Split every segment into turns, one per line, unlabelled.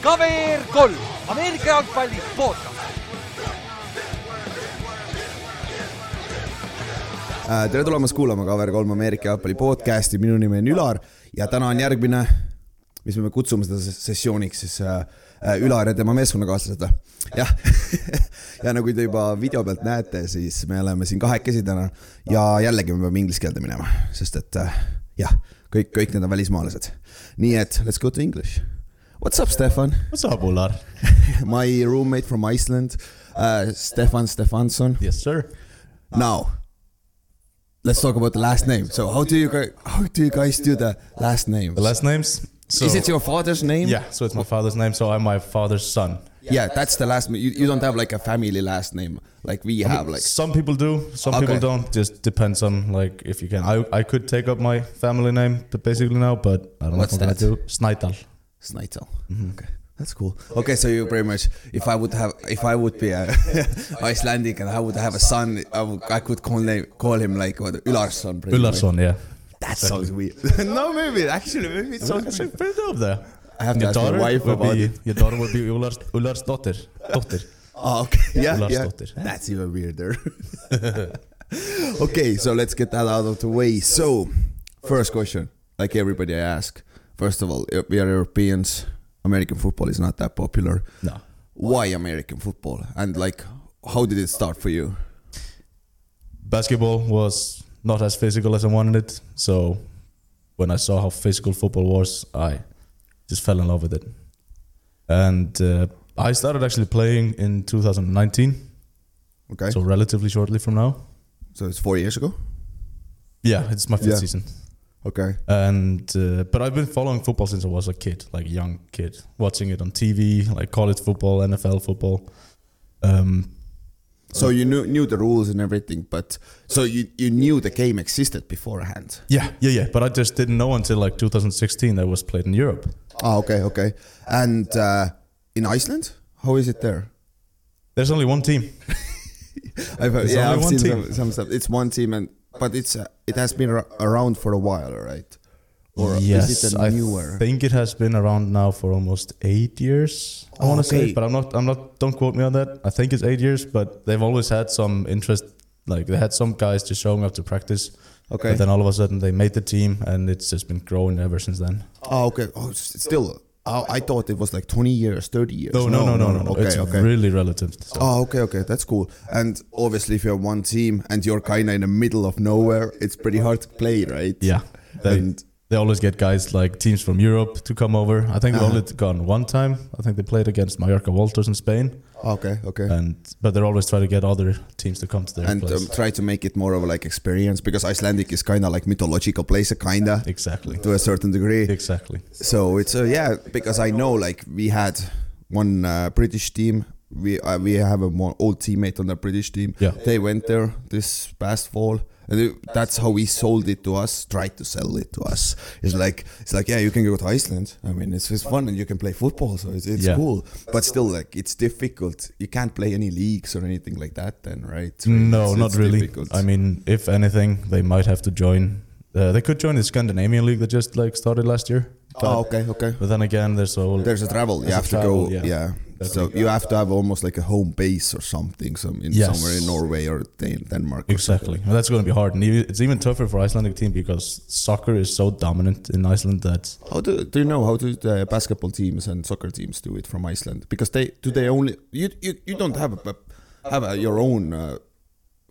KVR kolm , Ameerika jalgpalli podcast .
Äh, tere tulemast kuulama Cover3 Ameerika jalgpalli podcasti , minu nimi on Ülar ja täna on järgmine , mis me kutsume seda ses- sessiooniks siis äh, äh, Ülar ja tema meeskonnakaaslased või ? jah , ja nagu te juba video pealt näete , siis me oleme siin kahekesi täna ja jällegi me peame inglise keelde minema , sest et äh, jah , kõik , kõik need on välismaalased . nii et let's go to english . What's up , Stefan ?
What's up, Ular?
My roommate from Iceland uh, , Stefan Stefanson .
Yes, sir.
Now, let's talk about the last name. So, how do you guys, how do you guys do the last name?
The last names? So,
Is it your father's name?
Yeah, so it's my father's name, so I'm my father's son.
Yeah, that's the last name. You, you don't have like a family last name like we have. Like,
Some people do, some
Okay.
people don't. Just depends on like if you can. I I could take up my family name, but basically now, but I
What's
don't know if I'm
that?
gonna do. Snydal.
Snaitel.
Mm-hmm.
Okay, that's cool. Okay, so you pretty much, if I would have, if I would be a Icelandic and I would have a son, I, would, I could call name, call him like what Ularsson. pretty much.
Ullarsson, yeah.
That sounds weird. no, maybe actually, maybe it sounds
That's
weird.
actually pretty dope there.
I have to
Your
ask my
daughter
wife
would
about
be,
it.
Your daughter would be Ullars, Ullars daughter. Daughter.
Oh, okay. Yeah, yeah.
Larsdóttir.
That's even weirder. okay, so let's get that out of the way. So, first question, like everybody I ask, first of all, we are Europeans. American football is not that popular.
No.
Why American football? And like, how did it start for you?
basketball was not as physical as I wanted it. So when I saw how physical football was, I just fell in love with it. And uh, I started actually playing in 2019,
Okay, so,
so relatively shortly from now.
it's four years ago.
Yeah, it's my fifth
Yeah.
season.
Okay,
And uh, but I've been following football since I was a kid, like a young kid, watching it on TV, like college football, NFL football. Um,
so you knew knew the rules and everything, but so you you knew the game existed beforehand.
yeah, yeah, yeah. But I just didn't know until like 2016 that it was played in Europe.
Oh, okay, okay. And uh, in Iceland, how is it there?
There's only one team.
I've,
It's
yeah,
only
I've seen
one team.
Some, some stuff. It's one team, and but it's uh, it has been ar- around for a while, right? Or is it a
I
newer?
think it has been around now for almost eight years. I want to
Okay.
say, but I'm not. I'm not. Don't quote me on that. I think it's eight years, but they've always had some interest. Like they had some guys just showing up to practice.
Okay.
But then all of a sudden they made the team, and it's just been growing ever since then.
oh, okay. Oh, s- still. Oh, I thought it was like twenty years, thirty years.
No, no, no, no, no.
Oh,
no.
Okay,
it's
okay.
really relative.
Oh, okay, okay, that's cool. And obviously, if you're one team and you're kinda in the middle of nowhere, it's pretty hard to play, right?
Yeah. They,
And-
they always get guys like teams from Europe to come over. I think
Uh-huh.
they've only gone one time. I think they played against Mallorca Walters in Spain.
Okay, okay.
And but they're always trying to get other teams to come to their
and
place.
um, try to make it more of a, like experience because Icelandic is kinda like mythological place, kinda
Exactly.
to a certain degree.
Exactly.
so it's uh, yeah because I know like we had one uh, British team we uh, we have a more old teammate on the British team
Yeah.
they went there this past fall and it- that's how he sold it to us tried to sell it to us it's like it's like yeah you can go to Iceland I mean it's, it's fun and you can play football so it's, it's
Yeah.
cool but still like it's difficult you can't play any leagues or anything like that then right
No,
It's-
not
it's
really.
difficult.
I mean, if anything, they might have to join. Uh, they could join the Scandinavian league that just like started last year. But,
oh okay okay
but then again, there's all
There's a travel. You
There's a
have to
travel,
go. Yeah.
yeah.
So you have to have almost like a home base or something, some in
Yes.
somewhere in Norway or Dan- Denmark. or
exactly. And that's going to be hard, and e- it's even tougher for Icelandic team because soccer is so dominant in Iceland that
something. How do do you know how do the basketball teams and soccer teams do it from Iceland? Because they do they only you you, you don't have a have a, your own. Uh,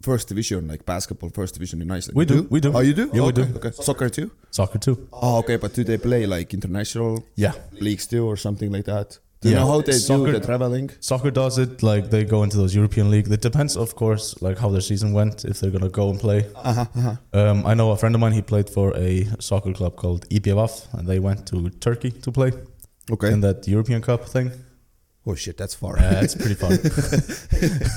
First division, like basketball, first division in Iceland.
We
You
do, we do.
Oh, you do?
Yeah, we
okay,
do.
Okay. Soccer too.
soccer too.
Oh, okay. But do they play like international
Yeah.
leagues too, or something like that? Do you
Yeah.
know how they
Soccer-
do the traveling?
Soccer does it like they go into those European league. It depends, of course, like how their season went if they're gonna go and play.
Uh-huh,
Um, I know a friend of mine. He played for a soccer club called IPVAF, and they went to Turkey to play
Okay.
in that European Cup thing.
oh shit, that's far.
Yeah, it's pretty fun.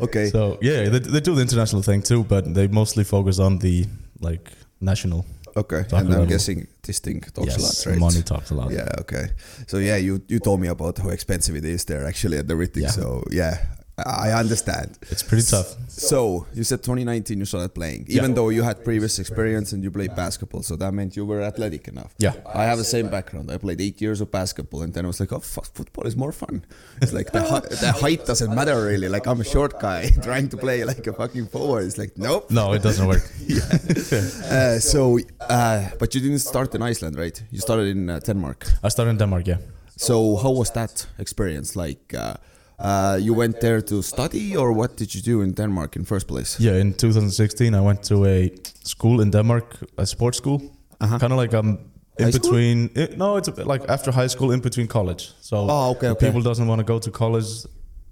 okay.
so yeah, they, they do the international thing too, but they mostly focus on the like national.
Okay,
Talk
and I'm
level.
guessing this thing talks
Yes,
a lot, Oh, right?
money talks a lot.
Yeah, okay. So yeah, you you told me about how expensive it is there actually and everything.
Yeah.
So yeah, I understand.
It's pretty tough.
So you said 2019 you started playing, even
Yeah.
though you had previous experience and you played basketball. So that meant you were athletic enough.
Yeah.
I have the same background. I played eight years of basketball, and then I was like, oh fuck, football is more fun. It's like the, hei- the height doesn't matter really. Like I'm a short guy trying to play like a fucking forward. It's like nope.
No, it doesn't work.
Uh, so, uh, but you didn't start in Iceland, right? You started in uh, Denmark.
I started in Denmark, yeah.
So how was that experience? Like, uh, uh, you went there to study, or what did you do in Denmark in first place?
Yeah, in 2016, I went to a school in Denmark, a sports school.
Uh-huh.
Kind of like I'm in
High school?
between. eh, no, it's a bit like after high school, in between college. So
Oh, okay,
if
okay.
people doesn't want to go to college,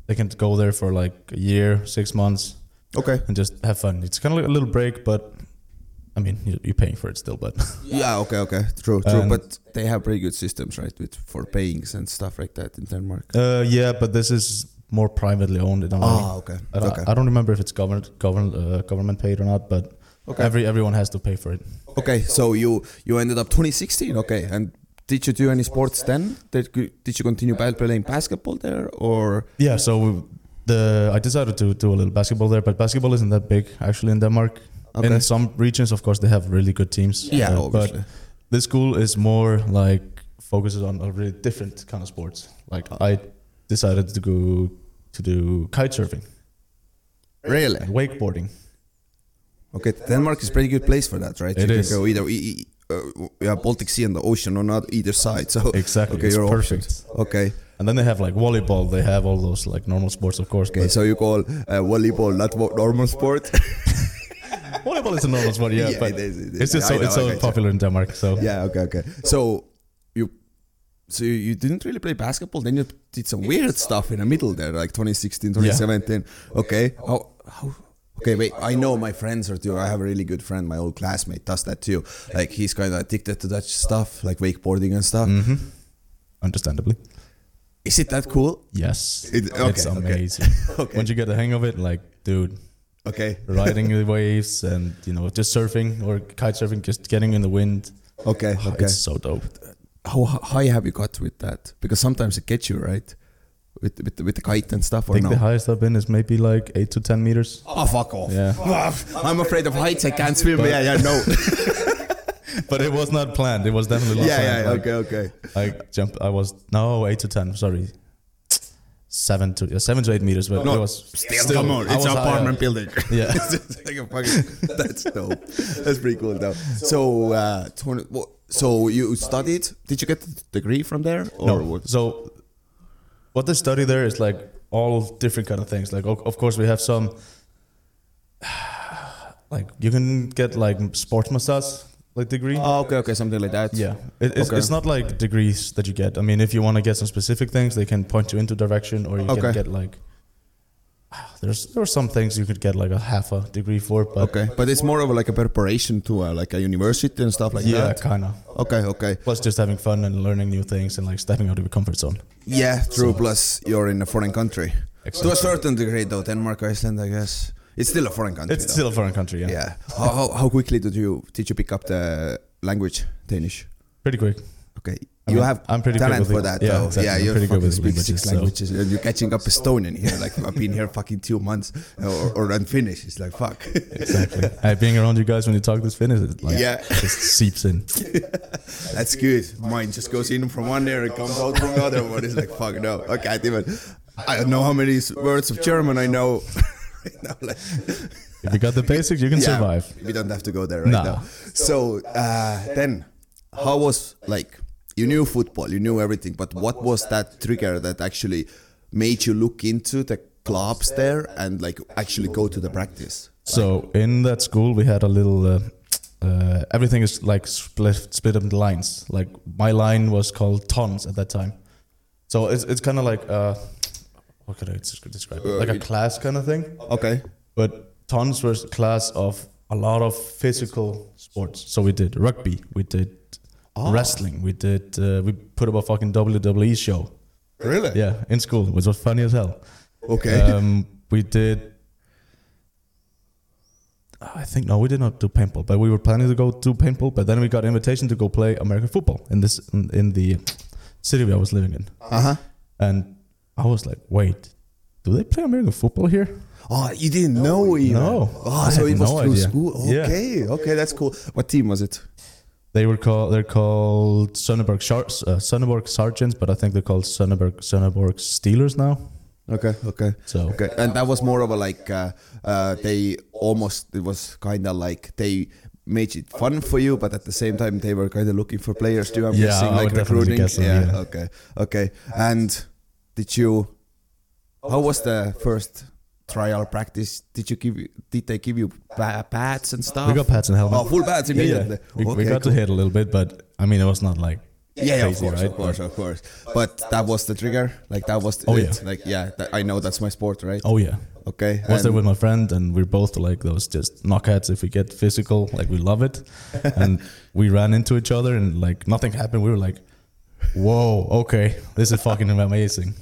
they can go there for like a year, six months,
Okay.
and just have fun. It's kind of like a little break, but I mean, you- you're paying for it still. But
Yeah. Okay. Okay. True. True.
And-
but they have pretty good systems, right, with for payings and stuff like that in Denmark.
uh, yeah, but this is more privately owned. In a way.
Ah, okay,
I don't,
okay.
I don't remember if it's government govern, uh, government paid or not, but
Okay.
every everyone has to pay for it.
Okay. So you you ended up 2016. Okay. And did you do any sports then? Did you, did you continue ba- playing basketball there, or
Yeah, so we, the I decided to do a little basketball there, but basketball isn't that big actually in Denmark.
Okay.
In some regions, of course, they have really good teams. Uh,
Yeah, obviously.
but this school is more like focuses on a really different kind of sports. Like I decided to go to do kite surfing
really?
and wakeboarding.
Okay, Denmark is a pretty good place for that, right?
It
you
is.
can go either e- e- uh, yeah, Baltic Sea and the ocean on not either side. So
Exactly,
okay,
it's
your
perfect.
options. Okay,
And then they have like volleyball. They have all those like normal sports, of course.
okay.
but
So you call uh, volleyball not wo- normal sport?
volleyball is a normal sport, yeah.
Yeah,
but
it is, it is.
it's just
I
so
know,
it's
I
so
gotcha.
popular in Denmark. So
yeah. Okay. Okay. So you, so you, you didn't really play basketball. Then you did some weird stuff in the middle there, like 2016, 2017. Okay. How, how? Okay. Wait. I know my friends are too. I have a really good friend. My old classmate does that too. Like he's kind of addicted to that stuff, like wakeboarding and stuff.
Mm-hmm. understandably.
Is it that cool?
Yes.
It- okay,
it's
okay.
amazing.
Okay.
Once you get the hang of it, like, dude,
Okay.
riding the waves and, you know, just surfing or kite surfing, just getting in the wind. Oh,
Okay. Okay.
It's so dope.
how high have you got with that? Because sometimes it gets you right, with with, with the kite and stuff.
I
Or
think
no?
the highest I've been is maybe like eight to 10 meters.
oh fuck off!
Yeah.
I'm afraid of heights. I can't swim. yeah, yeah, no.
But it was not planned. It was definitely not
yeah, yeah.
planned.
Okay, okay.
okay. I jumped, I was, no, eight to 10, sorry. Seven to yeah, seven to eight meters, but it was I was higher.
building.
Yeah.
It's just like a fucking- that's dope. That's pretty cool, though. So, uh, 20, wha- so you studied? Did you get the degree from there, or
No.
what?
So what they study there is like all different kind of things. Like of of course we have some like you can get like sports massage like degree.
Oh, okay, okay, something like that.
yeah, it, it's,
okay.
it's not like degrees that you get. I mean, if you want to get some specific things, they can point you into direction, or you
Okay.
can get like there's there are some things you could get like a half a degree for, but
Okay, but it's more of like a preparation to uh, like a university and stuff like
yeah,
that.
kind of.
Okay, okay.
Plus, just having fun and learning new things and like stepping out of your comfort zone.
Yeah, true. Plus, you're in a foreign country. To
Exactly.
a certain degree, though, Denmark, Iceland, I guess, it's still a foreign country.
It's
though.
still a foreign country, yeah.
yeah. How, how, how quickly did you did you pick up the language Danish?
Pretty quick.
Okay,
I
you
mean,
have
I'm pretty good
talent
with
for
it.
that.
Yeah,
though.
exactly.
yeah,
I'm
you're
pretty good
fucking
with
speak six
languages, so-
languages, and you're catching up Estonian here. Like I've been here fucking two months, or, or in Finnish. It's like fuck.
Exactly. hey, being around you guys when you talk this Finnish, it like
Yeah.
just seeps in.
That's good. Mine just goes in from one ear and comes out from the other one. It's like fuck no. I can't even. I don't know how many words of German I know. right now, like,
If you got the basics, you can
Yeah,
survive.
We don't have to go there right
No.
now. So uh, then, how was like you knew football, you knew everything, but what was that trigger that actually made you look into the clubs there and like actually go to the practice?
So in that school, we had a little. Uh, uh, everything is like split split up into lines. Like my line was called tons at that time. So it's it's kind of like uh, what could I des- describe? it?
Uh,
Like a class kind of thing.
Okay.
But tons was a class of a lot of physical sports. So we did rugby, we did
Oh.
wrestling, we did uh, we put up a fucking WWE show.
Really?
Yeah, in school, which was funny as hell.
Okay.
Um, we did. I think no, we did not do paintball, but we were planning to go do paintball. But then we got invitation to go play American football in this in, in the city I was living in,
Uh huh.
and I was like, wait, do they play American football here?
Oh, you didn't know even.
No.
Oh,
I
so
had
it was
no
through
idea.
school.
Yeah.
Okay, okay, that's cool. What team was it?
They were called they're called Sonneberg Sharks, uh, Sonneberg Sergeants, but I think they're called Sonneberg Sonneberg Steelers now.
Okay, okay.
So-
okay, and that was more of a like uh, uh, they almost it was kind of like they made it fun for you, but at the same time they were kind of looking for players too. I'm
Yeah,
guessing
I
like
would definitely
recruiting.
guess so,
yeah,
yeah.
okay, okay. And did you? How was the first trial practice? Did you give? you- Did they give you pa- pads and stuff?
We got pads and helmets.
Oh, full pads
Yeah, yeah.
immediately.
We, we
Okay,
got
cool.
to hit a little bit, but I mean it was not like
Yeah, yeah, of
crazy,
course,
right?
of course, of course. But that was the trigger. Like that was
Oh,
it.
yeah.
Like yeah, that, I know that's my sport, right?
Oh yeah.
Okay.
I was there
and-
with my friend and we are both like those just knockouts if we get physical, like we love it. and we ran into each other and like nothing happened. We were like, Whoa, okay, this is fucking amazing.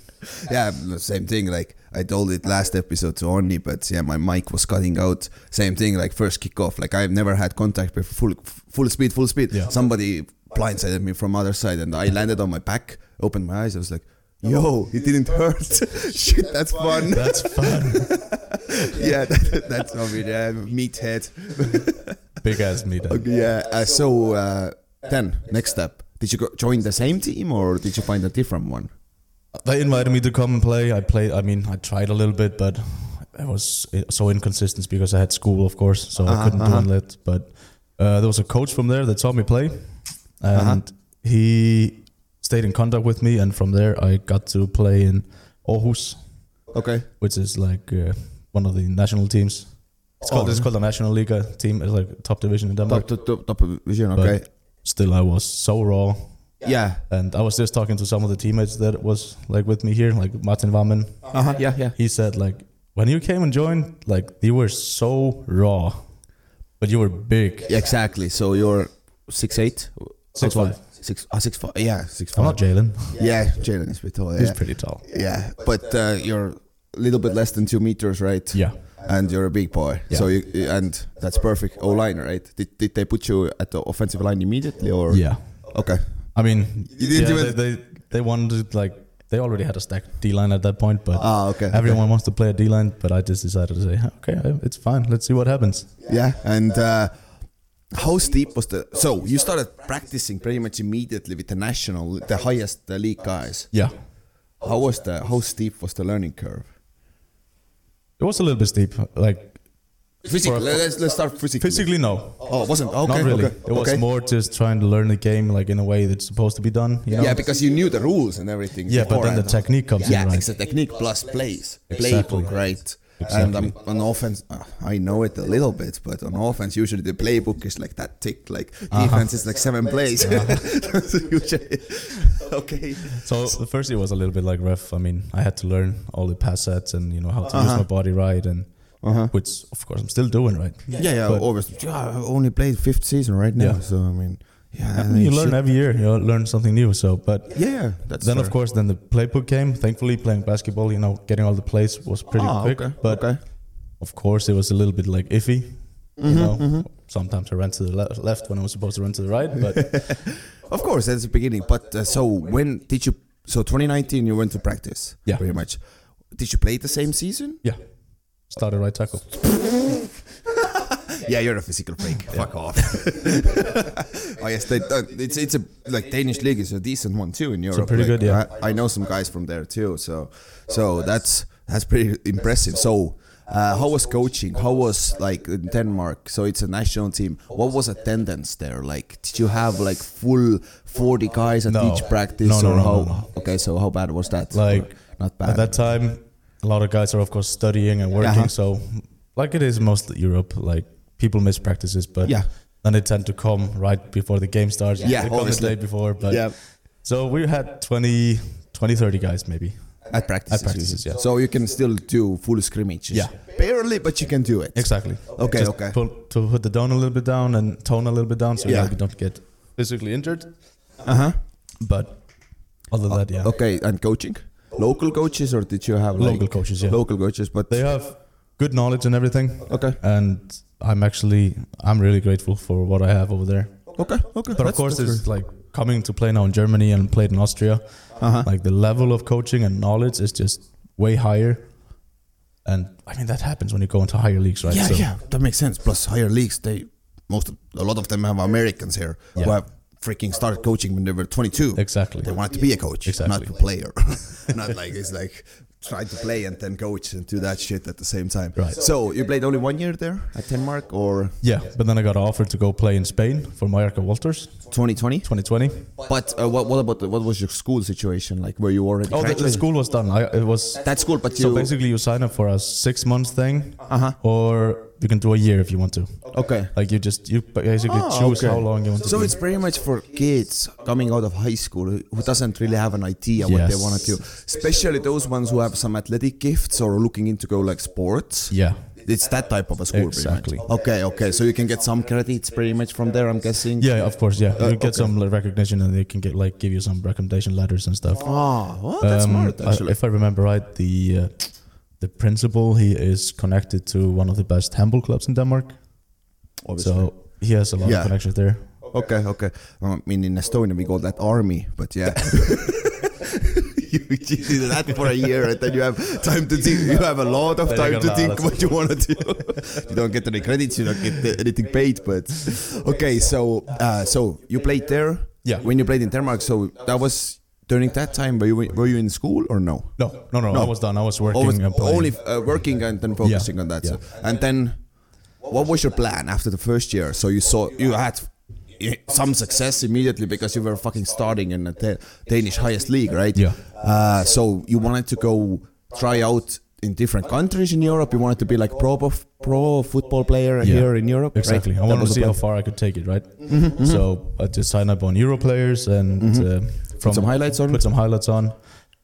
yeah, the same thing. Like I told it last episode to Onni, but yeah, my mic was cutting out. Same thing. Like first kickoff. Like I've never had contact with full full speed, full speed.
Yeah.
Somebody blindsided me from other side, and I landed on my back. Opened my eyes. I was like. Yo, it didn't hurt. Shit, that's fun.
That's fun.
yeah, that, that's I mean, yeah, meathead.
Big ass meet.
Okay, yeah. Uh, so uh, then, next step. Did you go join the same team or did you find a different one?
They invited me to come and play. I played. I mean, I tried a little bit, but I was so inconsistent because I had school, of course, so I couldn't do it. But uh, there was a coach from there that saw me play, and he stayed in contact with me. And from there, I got to play in Aarhus,
Okay.
which is like uh, one of the national teams. It's called. It's called the National League team. It's like top division in Denmark.
Top, top, top, top division. Okay.
But still, I was so raw.
yeah.
And I was just talking to some of the teammates that was like with me here, like Martin Vammen,
Uh huh. Yeah. Yeah.
he said like when you came and joined like you were so raw but you were big
Exactly. So you're six eight.
Six
How tall?
five.
Six. ah, six five. Yeah. Six
i'm
five.
not jalen
yeah. Jalen is a bit tall.
he's
Yeah.
pretty tall
yeah. But uh, you're a little bit less than two meters, right?
yeah
And you're a big boy.
Yeah.
So you and that's perfect. O line, right? Did, did they put you at the offensive line immediately or?
yeah
Okay.
i mean
You didn't
yeah,
do it-
they, they they wanted like they already had a stacked d-line at that point but
Ah. Okay. okay.
everyone wants to play a d-line but i just decided to say okay it's fine let's see what happens
yeah and uh, how steep was the so you started practicing pretty much immediately with the national the highest uh, league guys
yeah
how was the how steep was the learning curve
it was a little bit steep like
physically let's, let's start physically
physically no
oh wasn't okay
not really
okay,
it was
okay.
more just trying to learn the game like in a way that's supposed to be done you know?
yeah because you knew the rules and everything
Yeah, but then the
beforehand.
technique comes
yeah
in right
it's a technique plus plays
Exactly.
playbook right and
Exactly.
um, on offense uh, i know it a little bit but on offense usually the playbook is like that thick like
Uh-huh.
defense is like seven plays okay
So the first year was a little bit like rough. I mean, I had to learn all the pass sets and you know how to
Uh-huh.
use my body right, and which of course I'm still doing right.
Yeah, yeah,
But-
always. Yeah, I only played fifth season right now,
Yeah.
so I mean, yeah, I
you
mean,
learn
shit.
every year. You know, learn something new. So, but
Yeah, yeah, that's
then
fair.
of course, then the playbook came. Thankfully, playing basketball, you know, getting all the plays was pretty
Ah,
quick.
okay,
But
okay. Mm-hmm,
of course, it was a little bit like iffy. you know, sometimes I ran to the le- left when I was supposed to run to the right, but
Of course, that's the beginning. But uh, so when did you? So 2019, you went to practice.
Yeah.
pretty much. Did you play the same season?
yeah, started right tackle.
Yeah, you're a physical freak. Fuck off. oh yes, they, uh, it's it's a like Danish league is a decent one too in Europe.
pretty
Like,
good, yeah.
I, I know some guys from there too. So so that's that's pretty impressive. So. Uh, how was coaching? How was like in Denmark? So it's a national team. What was attendance there like? Did you have like full forty guys at
No.
each practice?
No, no,
or
no,
how?
no, no.
Okay, so how bad was that?
Like,
Or not bad.
At that time, a lot of guys are of course studying and working.
Uh-huh.
So, like it is most Europe, like people miss practices, but
Yeah.
then they tend to come right before the game starts.
Yeah,
they come the
obviously.
day before. But
Yeah.
so we had 20, 20 30 guys maybe.
At practices.
At practices, yeah.
So you can still do full scrimmages.
Yeah.
Barely, but you can do it.
Exactly.
Okay,
Just
okay.
Put, to put the down a little bit down and tone a little bit down, so
Yeah.
yeah. we don't get physically injured.
Uh huh.
But other than that, yeah,
Okay, and coaching? Local coaches, or did you have like
Local coaches, yeah.
local coaches? But
they have good knowledge and everything.
okay,
And I'm actually I'm really grateful for what I have over there.
okay, okay.
But of course, it's like coming to play now in Germany and played in Austria.
Uh-huh.
Like the level of coaching and knowledge is just way higher. And I mean, that happens when you go into higher leagues, right?
Yeah,
so,
yeah, that makes sense. Plus, higher leagues, they most of, a lot of them have Americans here who
Yeah.
have freaking started coaching when they were 22.
Exactly.
They wanted to be a coach,
Exactly.
not a player. not like it's like try to play and then coach and do that shit at the same time.
Right.
So you played only one year there at Denmark or
Yeah, but then I got offered to go play in Spain for Mallorca Walters
2020.
2020.
But uh, what, what about the, what was your school situation like? Were you already?
Oh, the, the
graduated?
school was done. I, it was
That's cool, but
so
you
basically you sign up for a six month thing,
Uh-huh.
or you can do a year if you want to.
okay.
Like you just you basically
Ah,
choose
okay.
how long you want to.
So
do.
it's pretty much for kids coming out of high school who doesn't really have an idea what they
Yes.
want to do, especially those ones who have some athletic gifts or looking into go like sports.
yeah,
It's that type of a school, pretty much.
Exactly.
Okay, okay. So you can get some credits pretty much from there, I'm guessing.
yeah, of course, yeah.
Uh,
you get
okay.
some like, recognition, and they can get like give you some recommendation letters and stuff.
Ah, well, that's
Um,
smart
I-
actually.
if I remember right, the uh, the principal he is connected to one of the best handball clubs in Denmark,
obviously.
so he has a lot
Yeah.
of connections there.
okay, okay. I mean, in Estonia we call that army, but yeah. You did that for a year, and then you have time to think. You have a lot of
Then I
time
go,
to
"Nah,
think
that's
what you want to do. you don't get any credits, you don't get anything paid. But okay, so uh, so you played there.
Yeah.
When you played in Denmark, so that was during that time. Were you were you in school or no?
No, no, no,
No.
I was done. I was working.
Always,
and playing.
only uh, working and then focusing on that.
yeah.
So, and then, what was your plan after the first year? So you saw you had eh, some success immediately because you were fucking starting in the Da- Danish highest league, right?
Yeah.
Uh, so you wanted to go try out in different countries in Europe. You wanted to be like pro bof- pro football player
Yeah,
here in Europe. right?
Exactly.
That
I wanted
was Mm-hmm, the
to see how
plan.
far I could take it, right? So I just signed up on Euro players and uh,
Mm-hmm.
from
some highlights on?
Put some highlights on.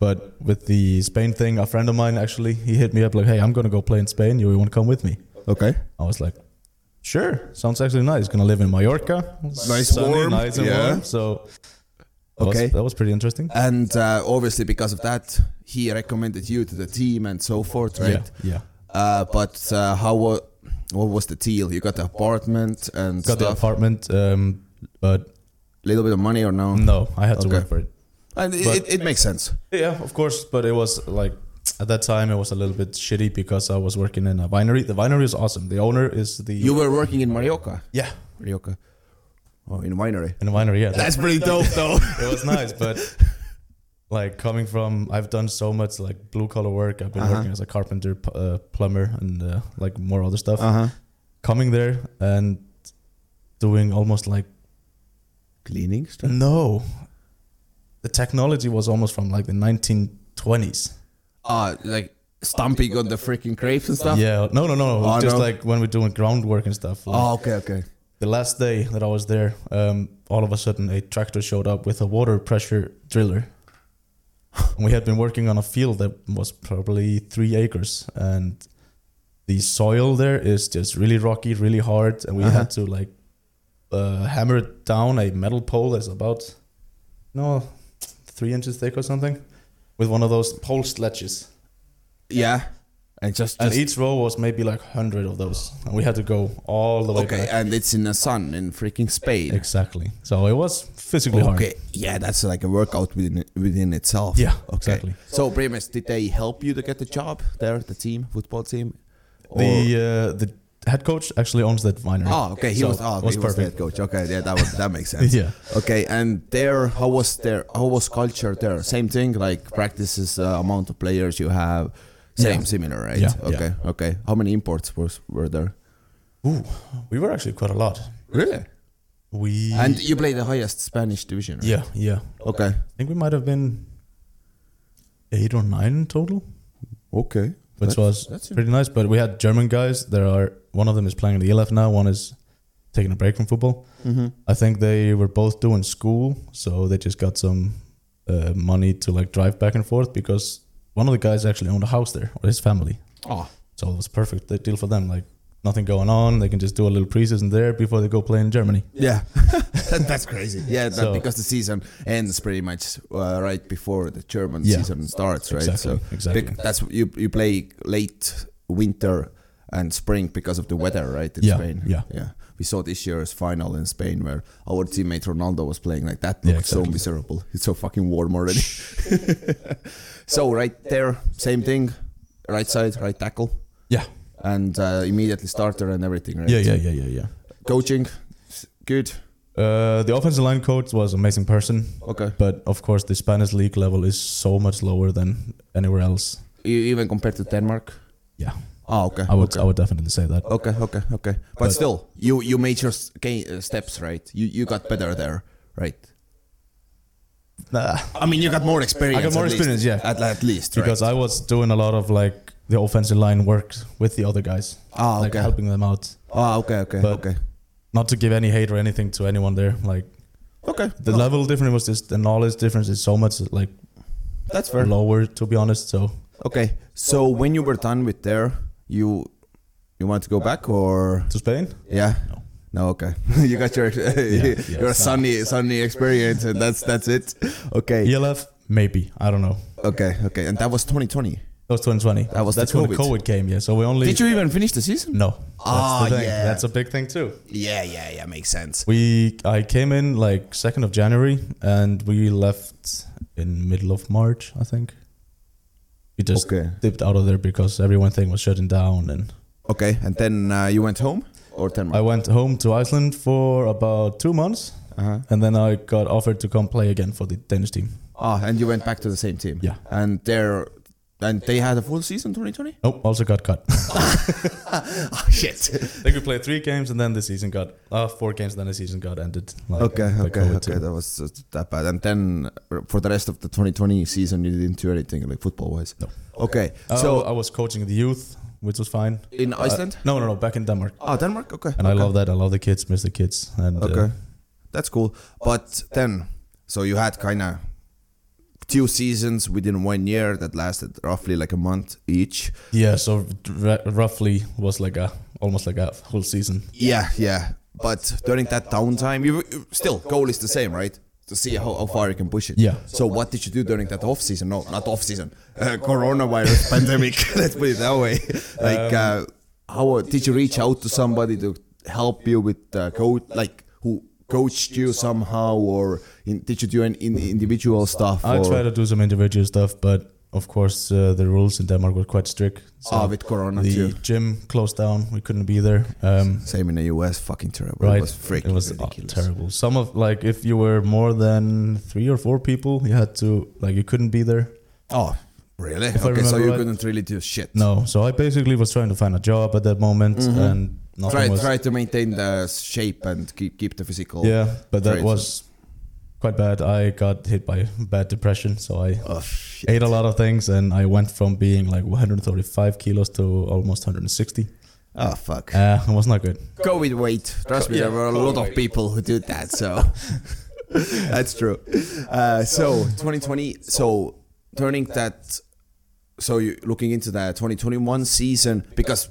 But with the Spain thing, a friend of mine actually he hit me up like, "Hey, I'm gonna go play in Spain. You want to come with me?"
Okay.
I was like, "Sure, sounds actually nice. Gonna live in Mallorca,
Nice warm,
nice and
yeah.
warm." So that was-
Okay.
that was pretty interesting.
And uh, obviously, because of that, he recommended you to the team and so forth, right?
Yeah, yeah.
Uh, but uh, how wa what was the deal? You got the apartment and
Got the
stuff.
apartment, um, but
little bit of money or no?
no, I had to
Okay.
work for it.
And it,
But-
it, it makes sense.
Yeah, of course, but it was like at that time it was a little bit shitty because I was working in a winery. The winery is awesome. The owner is the
You were working in Marioka.
yeah
Marioka. Oh, in winery.
in a winery. Yeah,
That's pretty dope, though.
it was nice, but like coming from, I've done so much like blue collar work. I've been
Uh-huh.
working as a carpenter, p- uh, plumber, and uh, like more other stuff.
uh huh.
Coming there and doing almost like
Cleaning stuff.
no, the technology was almost from like the 1920s.
Ah, like stomping on the freaking grapes and stuff.
Yeah, no, no, no,
Oh,
just
no.
like when we're doing groundwork and stuff. Like,
Oh, okay, okay.
the last day that I was there, um, all of a sudden a tractor showed up with a water pressure driller. and we had been working on a field that was probably three acres, and the soil there is just really rocky, really hard, and we
Uh-huh.
had to like uh, hammer down a metal pole that's about no three inches thick or something with one of those pole sledges.
Yeah. And just,
And
just
each row was maybe like hundred of those, and we had to go all the way.
okay,
back.
and it's in the sun in freaking Spain.
Exactly. So it was physically hard.
Okay, yeah, that's like a workout within within itself.
Yeah,
okay.
exactly.
So, pretty much, did they help you to get the job there, the team, football team? Or-
The uh, the head coach actually owns that winery.
oh, okay, he
So
was oh, okay,
was
he was the head
perfect.
coach. Okay, yeah, that was, that makes sense.
Yeah.
Okay, and there, how was there? How was culture there? Same thing, like practices, uh, amount of players you have, same,
Yeah.
similar, right?
Yeah,
Okay, okay. How many imports was were there?
Ooh, we were actually quite a lot.
Really?
We
And you played the highest Spanish division, right?
yeah yeah.
Okay.
I think we might have been eight or nine in total,
Okay.
which was
that's
pretty nice. But we had German guys. There are one of them is playing in the ELF now. One is taking a break from football.
Mm-hmm.
I think they were both doing school, so they just got some uh, money to like drive back and forth because one of the guys actually owned a house there or his family.
Oh,
So it was perfect the deal for them. Like nothing going on. They can just do a little preseason there before they go play in Germany.
Yeah, that's crazy. Yeah, that,
So-
because the season ends pretty much uh, right before the German
Yeah.
season starts, right?
Exactly, exactly.
bec- that's you you play late winter and spring because of the weather, right? In
Yeah,
Spain.
yeah.
yeah. We saw this year's final in Spain where our teammate Ronaldo was playing like that.
Yeah,
Looked so
exactly.
miserable. It's so fucking warm already. so right there, same thing. right side, right tackle,
Yeah.
and uh, immediately starter and everything. Right?
Yeah, yeah, yeah, yeah,
Coaching, s- good.
yeah. Uh, the offensive line coach was an amazing person,
Okay.
but of course the Spanish league level is so much lower than anywhere else.
E- Even compared to Denmark.
Yeah,
Ah, okay.
I would,
okay.
I would definitely say that.
Okay, okay, okay. But, still, you you made your s- ga- uh, steps right. You you got better there, right?
Nah,
I mean, you got more experience.
I got more
at least.
experience, yeah.
At, at least, right?
because I was doing a lot of like the offensive line work with the other guys,
ah,
like
okay.
helping them out.
ah, okay, okay,
But-
okay,
Not to give any hate or anything to anyone there. Like
okay.
the
no,
level difference was just the knowledge difference is so much like
that's fair.
lower to be honest. So
Okay, so when you were done with there, you you want to go back or
to Spain,
yeah?
No.
No, okay. you got your your
yeah.
sunny sunny experience, and that's that's it. Okay,
ELF maybe I don't know.
okay, okay. And that was 2020.
That was 2020.
That was the
that's when the
COVID.
COVID came. Yeah, so we only
Did you even finish the season?
no. That's
Ah,
the thing.
yeah.
That's a big thing too.
Yeah, yeah, yeah. Makes sense.
We I came in like second of January and we left in middle of March, I think. We just
Okay.
dipped out of there because everyone thing was shutting down and
Okay, and then uh, you went home or Denmark?
I went home to Iceland for about two months
Uh-huh.
and then I got offered to come play again for the Danish team.
Ah, and you went back to the same team.
Yeah.
And there, and they had a full season 2020.
Nope, also got cut. I
Oh shit.
think we played three games and then the season got uh, four games, then the season got ended. Like,
Okay,
by
okay,
COVID
okay.
too.
That was just that bad. And then uh, for the rest of the 2020 season, you didn't do anything like football wise.
No.
Okay.
Uh,
so
I was coaching the youth, which was fine. Uh,
in Iceland.
No, no, no, back in Denmark.
Ah, Denmark. Okay.
And I
okay.
love that. I love the kids, miss the kids. And
Okay.
uh,
That's cool. But then, so you had kind of two seasons within one year that lasted roughly like a month each.
yeah, so r- roughly was like a almost like a whole season.
Yeah, yeah. But during that downtime, you, you still goal is the same, right? To see how, how far you can push it.
Yeah.
So what did you do during that off season? No, not off season. Uh, coronavirus pandemic. Let's put it that way. Like, uh, how did you reach out to somebody to help you with uh, coach, like who coached you somehow, or in, did you do an in, individual stuff?
I
or,
try to do some individual stuff, but of course uh, the rules in Denmark were quite strict. So
Ah, with Corona
the
too.
gym closed down. We couldn't be there. Um,
Same in the US, fucking terrible.
right,
It was freaking
it was uh,
ridiculous.
terrible. Some of like if you were more than three or four people, you had to like you couldn't be there.
Oh, really?
I
okay, so
remember
you
right.
couldn't really do shit.
No, so I basically was trying to find a job at that moment, and nothing
Mm-hmm. try
was.
try to maintain the shape and keep keep the physical.
Yeah, but that
Traits.
was quite bad. I got hit by bad depression, so I
Oh, shit.
ate a lot of things, and I went from being like 135 kilos to almost 160.
Oh fuck.
Uh, it was not good.
Go with weight. Trust me, there were a lot of people who did that. So that's true. Uh, so 2020. So turning that. So you looking into that 2021 season because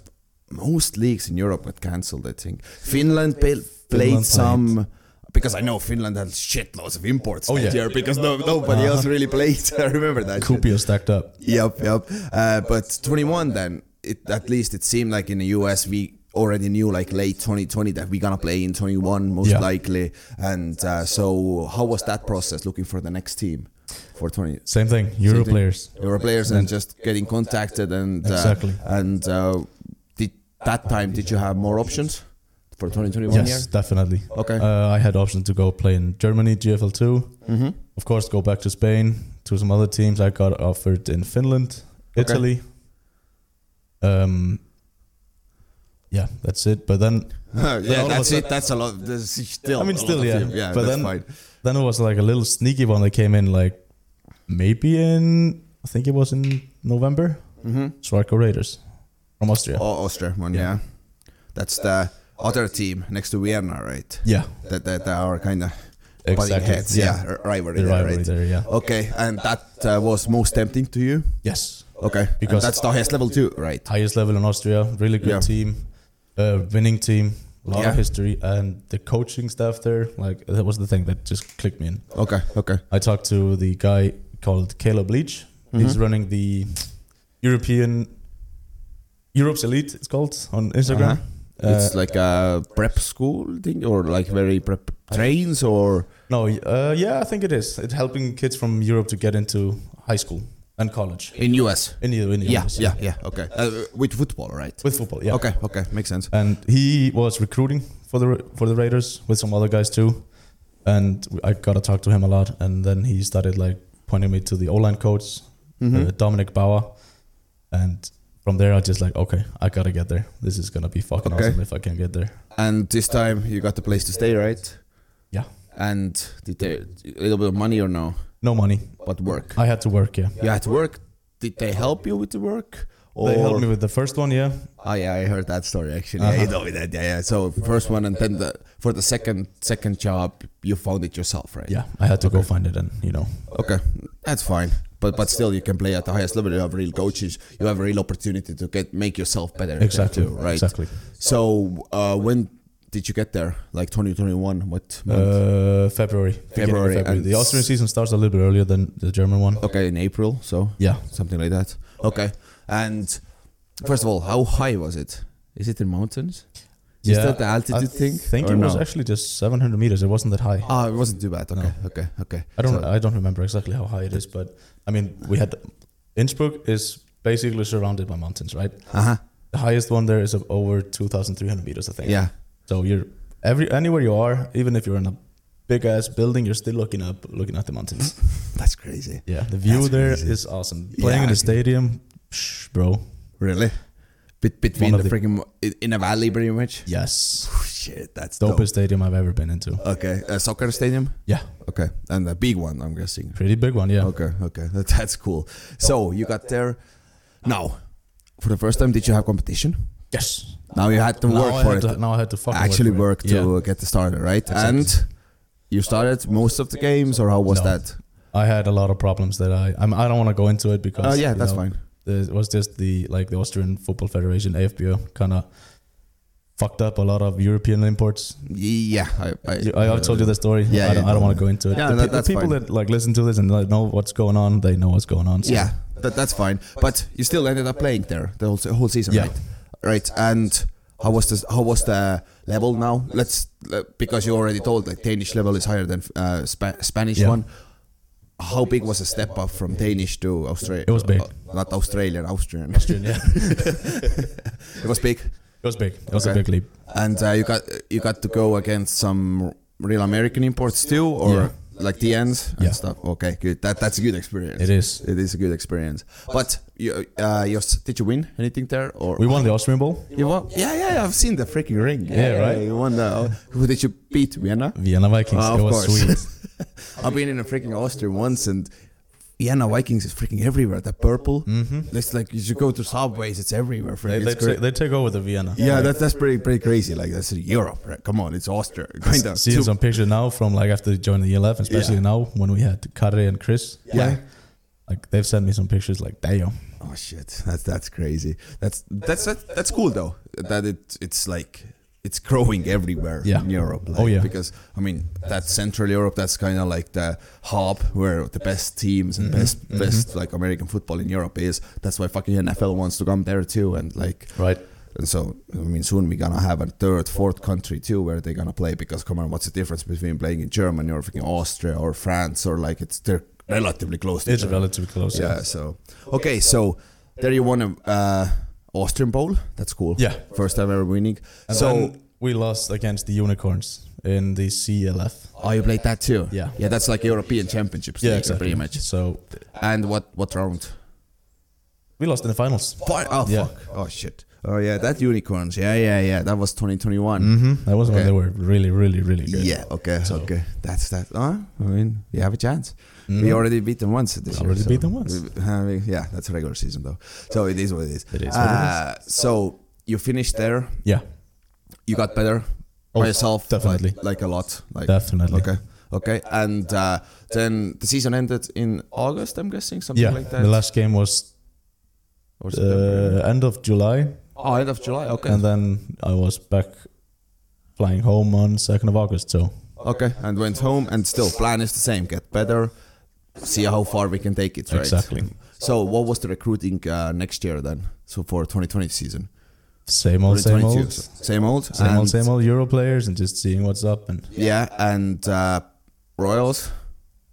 most leagues in Europe got cancelled. I think Finland pa- played
played.
some. Because I know Finland had shitloads of imports
Oh,
that
yeah. Uh-huh.
year because no, nobody else really played. I remember that. shit.
Kupio stacked up.
Yep, yep. Uh, but 21 then, it, at least it seemed like in the US we already knew like late 2020 that we're gonna play in 21 most
Yeah.
likely. And uh, so how was that process looking for the next team for 20?
Same thing. Euro
Same thing.
players.
Euro players and just getting contacted and uh,
Exactly.
And uh, did that time did you have more options for 2021
Yes,
year?
definitely.
Okay.
Uh, I had options to go play in Germany, GFL 2
Mhm.
Of course, go back to Spain to some other teams. I got offered in Finland, Italy. Um. Yeah, that's it. But then
yeah,
all of a
that's
sudden-
it. That's a lot. There's still.
I mean,
a
still,
lot of
yeah.
team. yeah.
but
that's
then,
fine.
then it was like a little sneaky one that came in, like maybe in I think it was in November. Mm-hmm. Swarko Raiders from Austria.
Oh, Austria one, yeah. That's the other team next to Vienna, right?
Yeah,
That that, that are kind of butting
Exactly,
heads, yeah,
yeah.
r- rivalry,
the
there,
rivalry
right?
there. Yeah.
Okay, and that uh, was most tempting to you.
Yes.
Okay, because
Because-
that's the highest level too, right?
Highest level in Austria. Really good
Yeah.
team. Uh, winning team. A lot
Yeah.
of history and the coaching staff there. Like that was the thing that just clicked me in.
Okay, okay,
I talked to the guy called Caleb Leach. He's
Mm-hmm.
running the European Europe's Elite. It's called on Instagram.
Uh-huh.
Uh,
it's like a prep school thing, or like very prep trains, or
No, uh, yeah, I think it is. It's helping kids from Europe to get into high school and college.
In US?
In the in the
Yeah,
US,
yeah, yeah, okay. Uh, with football, right?
with football. Yeah.
Okay, okay, makes sense.
And he was recruiting for the for the Raiders with some other guys too, and I gotta talk to him a lot. And then he started like pointing me to the O line coach,
Mm-hmm.
uh, Dominic Bauer, and from there I just like okay, I gotta get there. This is gonna be fucking
Okay.
awesome if I can get there.
And this time you got the place to stay, right?
Yeah.
And did they a little bit of money or no?
No money.
But work.
I had to work. Yeah.
You had to work. Did they help you with the work? Or
They helped me with Uh-huh. the first one. Yeah.
Oh yeah, I heard that story actually. Yeah, you told me that. Yeah, yeah. So first one, and then the, for the second second job, you found it yourself, right?
Yeah. I had to go find it, and you know,
Okay, that's fine. But but still, you can play at the highest level. You have real coaches. You have a real opportunity to get make yourself better. there
Exactly,
too, right.
exactly.
So uh, when did you get there? Like 2021? What month?
uh, February. beginning of
February,
February.
and
The Austrian season starts a little bit earlier than the German one.
okay, in April. So
Yeah.
something like that. Okay. And first of all, how high was it? Is it in mountains? Is that the altitude
I
thing,
think
or
it was
no?
actually just 700 meters. It wasn't that high.
Ah, it wasn't too bad. Okay, okay, okay.
I don't.
So-
I don't remember exactly how high it is, but I mean, we had Innsbruck is basically surrounded by mountains, right?
Uh-huh.
The highest one there is of over 2,300 meters, I think.
Yeah.
So you're every anywhere you are, even if you're in a big ass building, you're still looking up, looking at the mountains.
That's crazy.
yeah, the view
That's
there is
crazy.
awesome. Playing in
Yeah.
the stadium, psh, bro.
Really? Bet between
One
the,
of the-
freaking i- in a valley, pretty much.
Yes,
Shit, that's
dopest
dope.
stadium I've ever been into.
Okay, a soccer stadium.
Yeah,
Okay, and a big one, I'm guessing.
pretty big one. Yeah.
Okay, okay, that, that's cool. So you got there. Now, for the first time, did you have competition?
Yes.
Now you had to
Now
work
I
for
had
it.
to- now I had to fucking
actually work,
work for
to
it.
get the starter, right? And you started most of the games, or how was
No.
that?
I had a lot of problems that I I'm, I don't want to go into it because
Oh, yeah,
you
that's fine.
there- It was just the like the Austrian Football Federation AFBO kind of fucked up a lot of European imports.
Yeah, I, I,
You- I, I've told you the story.
Yeah,
I don't,
yeah,
I don't want to
no.
go into it.
Yeah,
the,
that-
pe- the
that's
people
fine.
that like listen to this and like, know what's going on, they know what's going on. so-
Yeah, that, that's fine. But you still ended up playing there the whole, se- whole season,
Yeah.
right? Right. And how was this? How was the level now? Let's le- because you already told like Danish level is higher than uh, Spa- Spanish
Yeah.
one. How big was the step up from Danish to Australia?
It was big.
not Australian, Austrian.
yeah, it
it was big.
was big. It was
Okay.
a big leap.
And uh, you got you got to go against some real American imports too, or
Yeah.
like the ends and
Yeah.
stuff. Okay, good. That that's a good experience.
It is.
It is a good experience. But you, uh, you did you win anything there or
We won the Austrian Bowl,
You won? Yeah, yeah. yeah, I've seen the freaking ring. Yeah,
right?
You won the. Who did you beat? Vienna.
Vienna Vikings.
Ah,
it was sweet.
I've been in a freaking Austria once and. Vienna Vikings is freaking everywhere. The purple, mm-hmm. it's like you should go to subways. It's everywhere. Freaking.
They,
It's
they,
great.
ta- they take over the Vienna.
Yeah, that's that's pretty pretty crazy. Like that's Europe, right? Come on, it's Austria, kind of.
Seeing some pictures now from like after joining the E ELF, especially
Yeah.
now when we had Kare and Chris.
Yeah.
Like they've sent me some pictures like damn.
Oh shit, that's that's crazy. That's that's that's, that's cool though. That it it's like it's growing everywhere
Yeah.
in Europe. Like,
Oh, yeah.
because I mean that's Central Europe. That's kind of like the hub where the best teams and best
Mm-hmm.
best like American football in Europe is. That's why fucking NFL wants to come there too. And like
Right.
And so, I mean, soon we're gonna have a third, fourth country too where they're gonna play because, come on, what's the difference between playing in Germany or freaking Austria or France or like it's they're relatively close to
It's
each other.
relatively close.
Yeah. So, okay, so there you won a uh, Austrian Bowl. That's cool.
Yeah.
First time ever winning.
And
so,
then we lost against the unicorns in the CLF.
oh, you played that too.
Yeah.
Yeah, that's like European Championships. league, Pretty much.
So
And what what round?
we lost in the finals.
Fi- Oh
Yeah.
fuck. Oh shit. Oh yeah, that unicorns. Yeah, yeah, yeah. That was 2021.
That was
Okay.
when they were really, really, really good.
Yeah. Okay.
Mm-hmm. So-
Okay. That's that. Uh, I mean, we have a chance. We already beat them once this
mm-hmm. We
year.
already
so
beat them once.
we- uh, we- yeah, that's regular season though. So it is what it is.
It is what it
Uh, so you finished there.
Yeah.
You got better
Oh,
by yourself. like-
definitely.
Like, a lot. Like
Definitely.
Okay. Okay. And uh, then the season ended in August. I'm guessing something
Yeah.
like that.
the last game was
or September.
uh, end of July,
oh, end of July. Okay.
and then I was back flying home on second of August. So
okay. And went home. And still, plan is the same. Get better. See how far we can take it. Right.
exactly
So what was the recruiting uh, next year then? So for 2020 season,
same old, same
2022.
old.
same old,
Same
and-
old, same old Euro players and just seeing what's up and
Yeah, and uh, Royals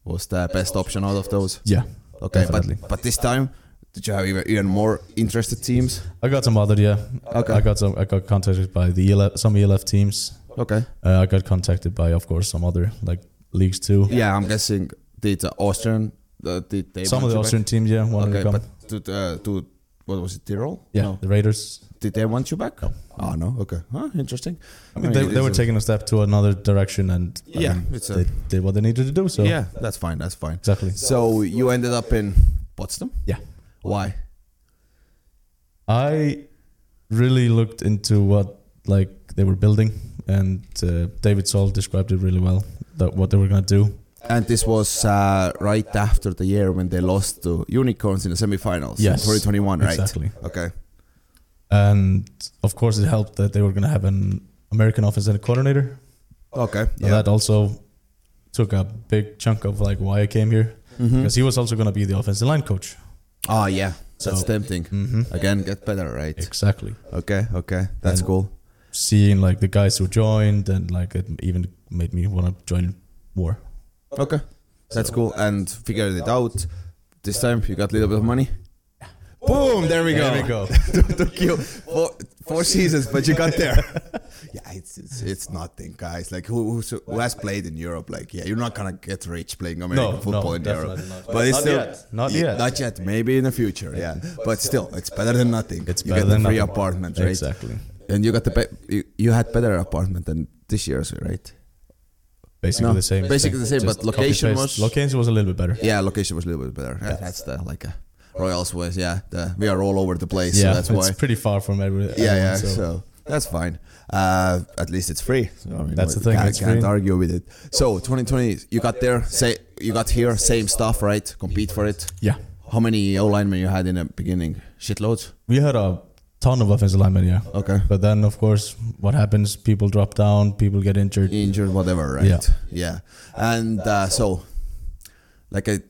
was the best option out of those.
yeah,
Okay,
Definitely.
but but this time, did you have even, even more interested teams?
I got some other yeah.
Okay.
I got some. I got contacted by the ELF, some ELF teams.
Okay.
Uh, I got contacted by, of course, some other like leagues too.
Yeah, I'm guessing did the Austrian uh, did they
Some of
want
the
you
Austrian teams, yeah,
back?
wanted
Okay,
to come.
but to, uh, to what was it Tyrol?
yeah,
No.
the Raiders.
Did they want you back? No. Oh no. Okay. Huh, interesting.
I mean, they,
it
they
is
were
a-
taking a step to another direction, and I
Yeah,
mean,
it's a-
they did what they needed to do. So
Yeah, that's fine. That's fine.
exactly.
So you ended up in Potsdam.
Yeah,
Why?
I really looked into what like they were building, and uh, David Saul described it really well that what they were gonna do.
And this was uh, right after the year when they lost to Unicorns in the semifinals. in
Yes,
2021, right?
Exactly.
Okay.
And of course, it helped that they were gonna have an American offensive coordinator
Okay.
And that also took a big chunk of like why I came here
Mhm.
because he was also going to be the offensive line coach.
Oh yeah.
So-
that's tempting. Again, get better, right?
Exactly.
Okay. Okay. That's
And-
cool.
Seeing like the guys who joined and like it even made me want to join more.
Okay. That's cool. And figured it out. This time you got a little bit of money. Boom! There we go.
There we go.
Took you four, four seasons, but you got there. yeah, it's, it's it's nothing, guys. Like who who's, who has played in Europe? Like yeah, you're not gonna get rich playing American
No,
football
no,
in Europe.
definitely not.
But it's
Not
still
yet. Not
Yeah,
yet.
Not yet. Maybe in the future. Yeah, but still, it's better than nothing.
It's
you
better
get the
than
free
nothing.
apartment, right?
Exactly.
And you got the be- you, you had better apartment than this year's, right?
Basically
No,
the same.
basically the same,
Just
but location
copy-paste.
was-
location was a little bit better.
Yeah, location was a little bit better. Yeah, That's the like a Royals was. Yeah, the, we are all over the place.
Yeah,
so that's
it's
why.
pretty far from every.
Yeah,
everyone,
yeah. So. that's fine. Uh, at least it's free. So, I mean,
That's
we
the thing,
Can't,
it's
can't
free.
argue with it. So 2020, you got there. Say you got here. Same stuff, right? Compete for it.
yeah,
How many O linemen you had in the beginning? Shitloads.
we had a ton of offensive linemen. Yeah,
Okay.
but then of course, what happens? People drop down. People get injured.
Injured, whatever, right?
Yeah.
Yeah. And uh, so, like I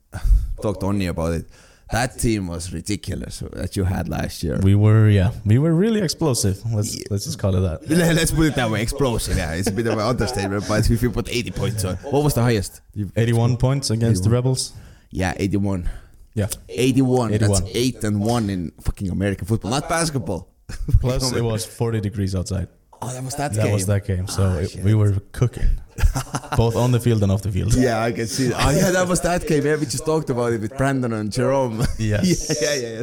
talked to Oni about it. That team was ridiculous that you had last year.
We were, yeah, we were really explosive. Let's let's just call it that.
Le- Let's put it that way, explosive. Yeah, it's a bit of an understatement, but if you put 80 points on, what was the highest?
81 points against the Rebels.
Yeah, 81.
Yeah.
81. That's
81.
8 and 1 in fucking American football, not basketball.
Plus, it was 40 degrees outside.
Oh, that was that,
That
game. Ah,
was that game. So it, we were cooking, both on the field and off the field.
Yeah, I can see. Oh, yeah, that was that game. Yeah, we just talked about it with Brandon and Jerome.
Yes.
yeah, yeah, yeah, yeah.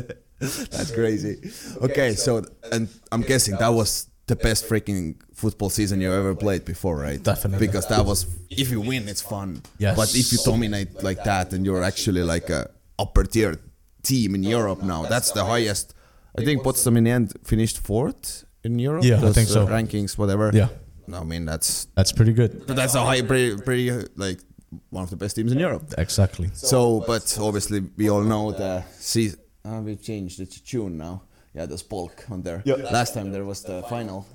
That's crazy. Okay, so, and I'm guessing that was the best freaking football season you ever played before, right?
Definitely.
Because that was, if you win, it's fun.
Yes.
But if you dominate like that and you're actually like a upper tier team in Europe now, that's the highest. I think Potsdam in the end finished fourth in Europe.
Yeah, I
those,
think
uh,
so.
Rankings, whatever.
Yeah.
I mean, that's
That's pretty good.
but that's a high, pretty, pretty uh, like one of the best teams in Europe.
Exactly.
So, but obviously we all know the season. Uh, we've changed the tune now. Yeah, there's bulk on there. Last time there was the final.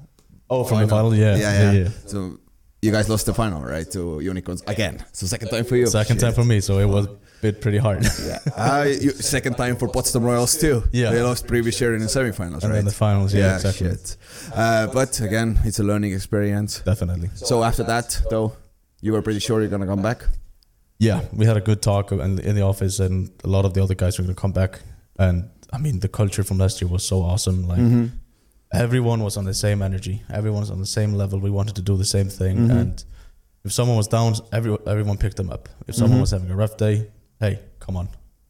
Oh, from the final, yeah,
yeah,
yeah,
yeah.
yeah.
So you guys lost the final, right, to Unicorns again. So second time for you.
Second time for me, so it was bit pretty hard.
Oh, Yeah. Uh, you, second time for Potsdam Royals too.
Yeah.
They lost previous year in the semifinals,
And
right?
then the finals, yeah, exactly.
shit. Uh, but again, it's a learning experience.
Definitely.
So after that, though, you were pretty sure you're gonna come back.
Yeah, we had a good talk in in the office, and a lot of the other guys were going to come back. And I mean, the culture from last year was so awesome. Like
Mm-hmm.
everyone was on the same energy, everyone was on the same level. We wanted to do the same thing,
Mm-hmm.
and if someone was down, every, everyone picked them up. If someone
Mm-hmm.
was having a rough day, hey, come on,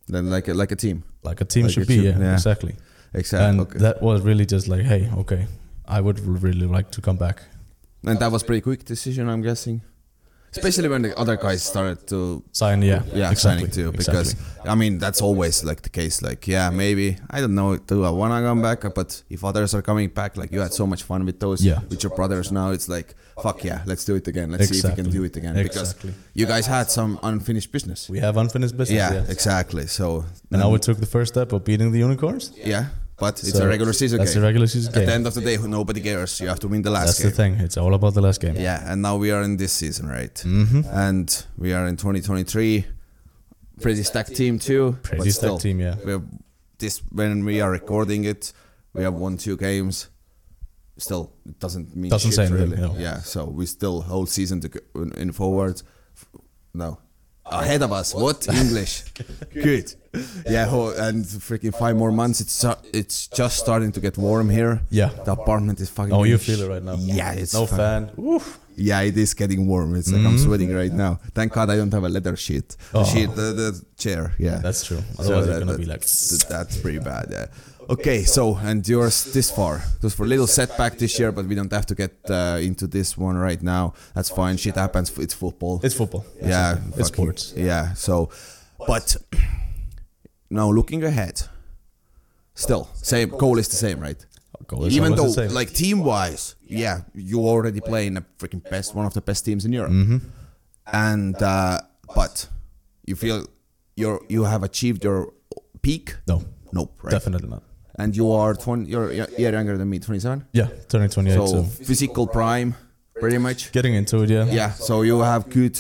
Then like a, like a team.
like a team
Like
should
it
be.
should-
yeah,
yeah.
exactly.
Exactly.
And
okay.
that was really just like, hey, okay, I would really like to come back.
and that was pretty quick decision, I'm guessing. Especially when the other guys started to
Sign, yeah,
yeah signing too, because
exactly.
I mean that's always like the case. Like yeah, maybe I don't know, do I wanna come back? But if others are coming back, like you had so much fun with those,
Yeah.
with your brothers now, it's like fuck yeah, let's do it again. Let's see if we can
Exactly.
do it again
Exactly.
because you guys had some unfinished business.
we have unfinished business.
yeah,
yeah.
exactly. So
And now we took the first step of beating the unicorns.
yeah, but it's
So
a regular season
That's
game.
the regular season
At
game.
the end of the day, nobody cares. You have to win the last
that's
game.
the thing. It's all about the last game.
Yeah, and now we are in this season, right? Mm-hmm. And we are in 2023. Pretty stacked team too.
Pretty
but
stacked
still,
team, yeah.
We're this when we are recording it, we have won two games. Still, it doesn't mean
Doesn't
shit
say anything,
really.
no.
Yeah, so we still whole season to go in, in forward. F- No, ahead of us. What English? Good. Yeah, ho- and freaking five more months. It's sta- it's just starting to get warm here.
Yeah.
the apartment is fucking.
Oh, you feel it right now.
Yeah, it's
no
fucking-
fan. Oof.
Yeah, it is getting warm. It's like I'm sweating right now. Thank God I don't have a leather sheet.
Mm-hmm. Oh.
Sheet, the, the chair. Yeah,
That's true.
So
Otherwise, you're
that-
gonna be
that-
like.
th- that's pretty bad. Yeah. Okay, so and yours this far. It was for a little setback this year, but we don't have to get uh, into this one right now. That's fine. Shit happens. It's football.
It's football.
yeah,
it's
fucking-
sports.
Yeah. So, but now looking ahead, still same goal is the same, right?
Oh, Goal is
Even
always the
though,
same.
like team wise, yeah, you already play in a freaking best, one of the best teams in Europe,
Mm-hmm.
and uh, but you feel you're you have achieved your peak.
No,
Nope. Right.
definitely not.
And you are twenty. You're a year younger than me, twenty-seven.
Yeah, turning 28. So,
so physical prime, pretty much.
getting into it, yeah.
Yeah. So you have good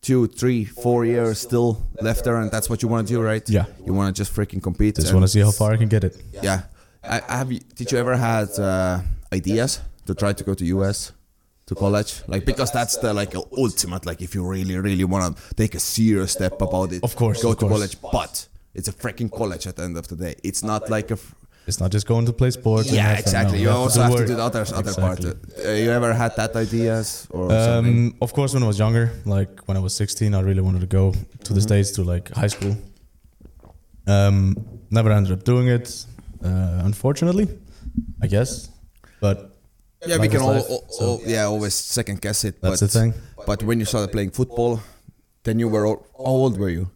two, three, four years still left there, and that's what you want to do, right?
Yeah.
You want to just freaking compete.
Just
and-
want to see how far I can get it.
Yeah. I, I have. you- Did you ever had uh, ideas to try to go to US? To college, like because that's the like ultimate. Like if you really, really want to take a serious step about it,
Of course,
go
of
to
course.
college. But it's a freaking college at the end of the day. It's not like a f-
It's not just going to play sports. and
yeah,
have fun.
exactly.
No,
you also have to
work.
do the other other part.
Exactly.
Uh, you ever had that ideas or something?
Um, of course, when I was younger, like when I was 16, I really wanted to go to
Mm-hmm.
the States to like high school. Um, never ended up doing it, uh, unfortunately, I guess. But
Yeah, we
life
can
is
all,
life,
all-
so-
all- yeah always second guess it.
That's
but,
the thing.
But when you started playing football, then you were all, how old were you?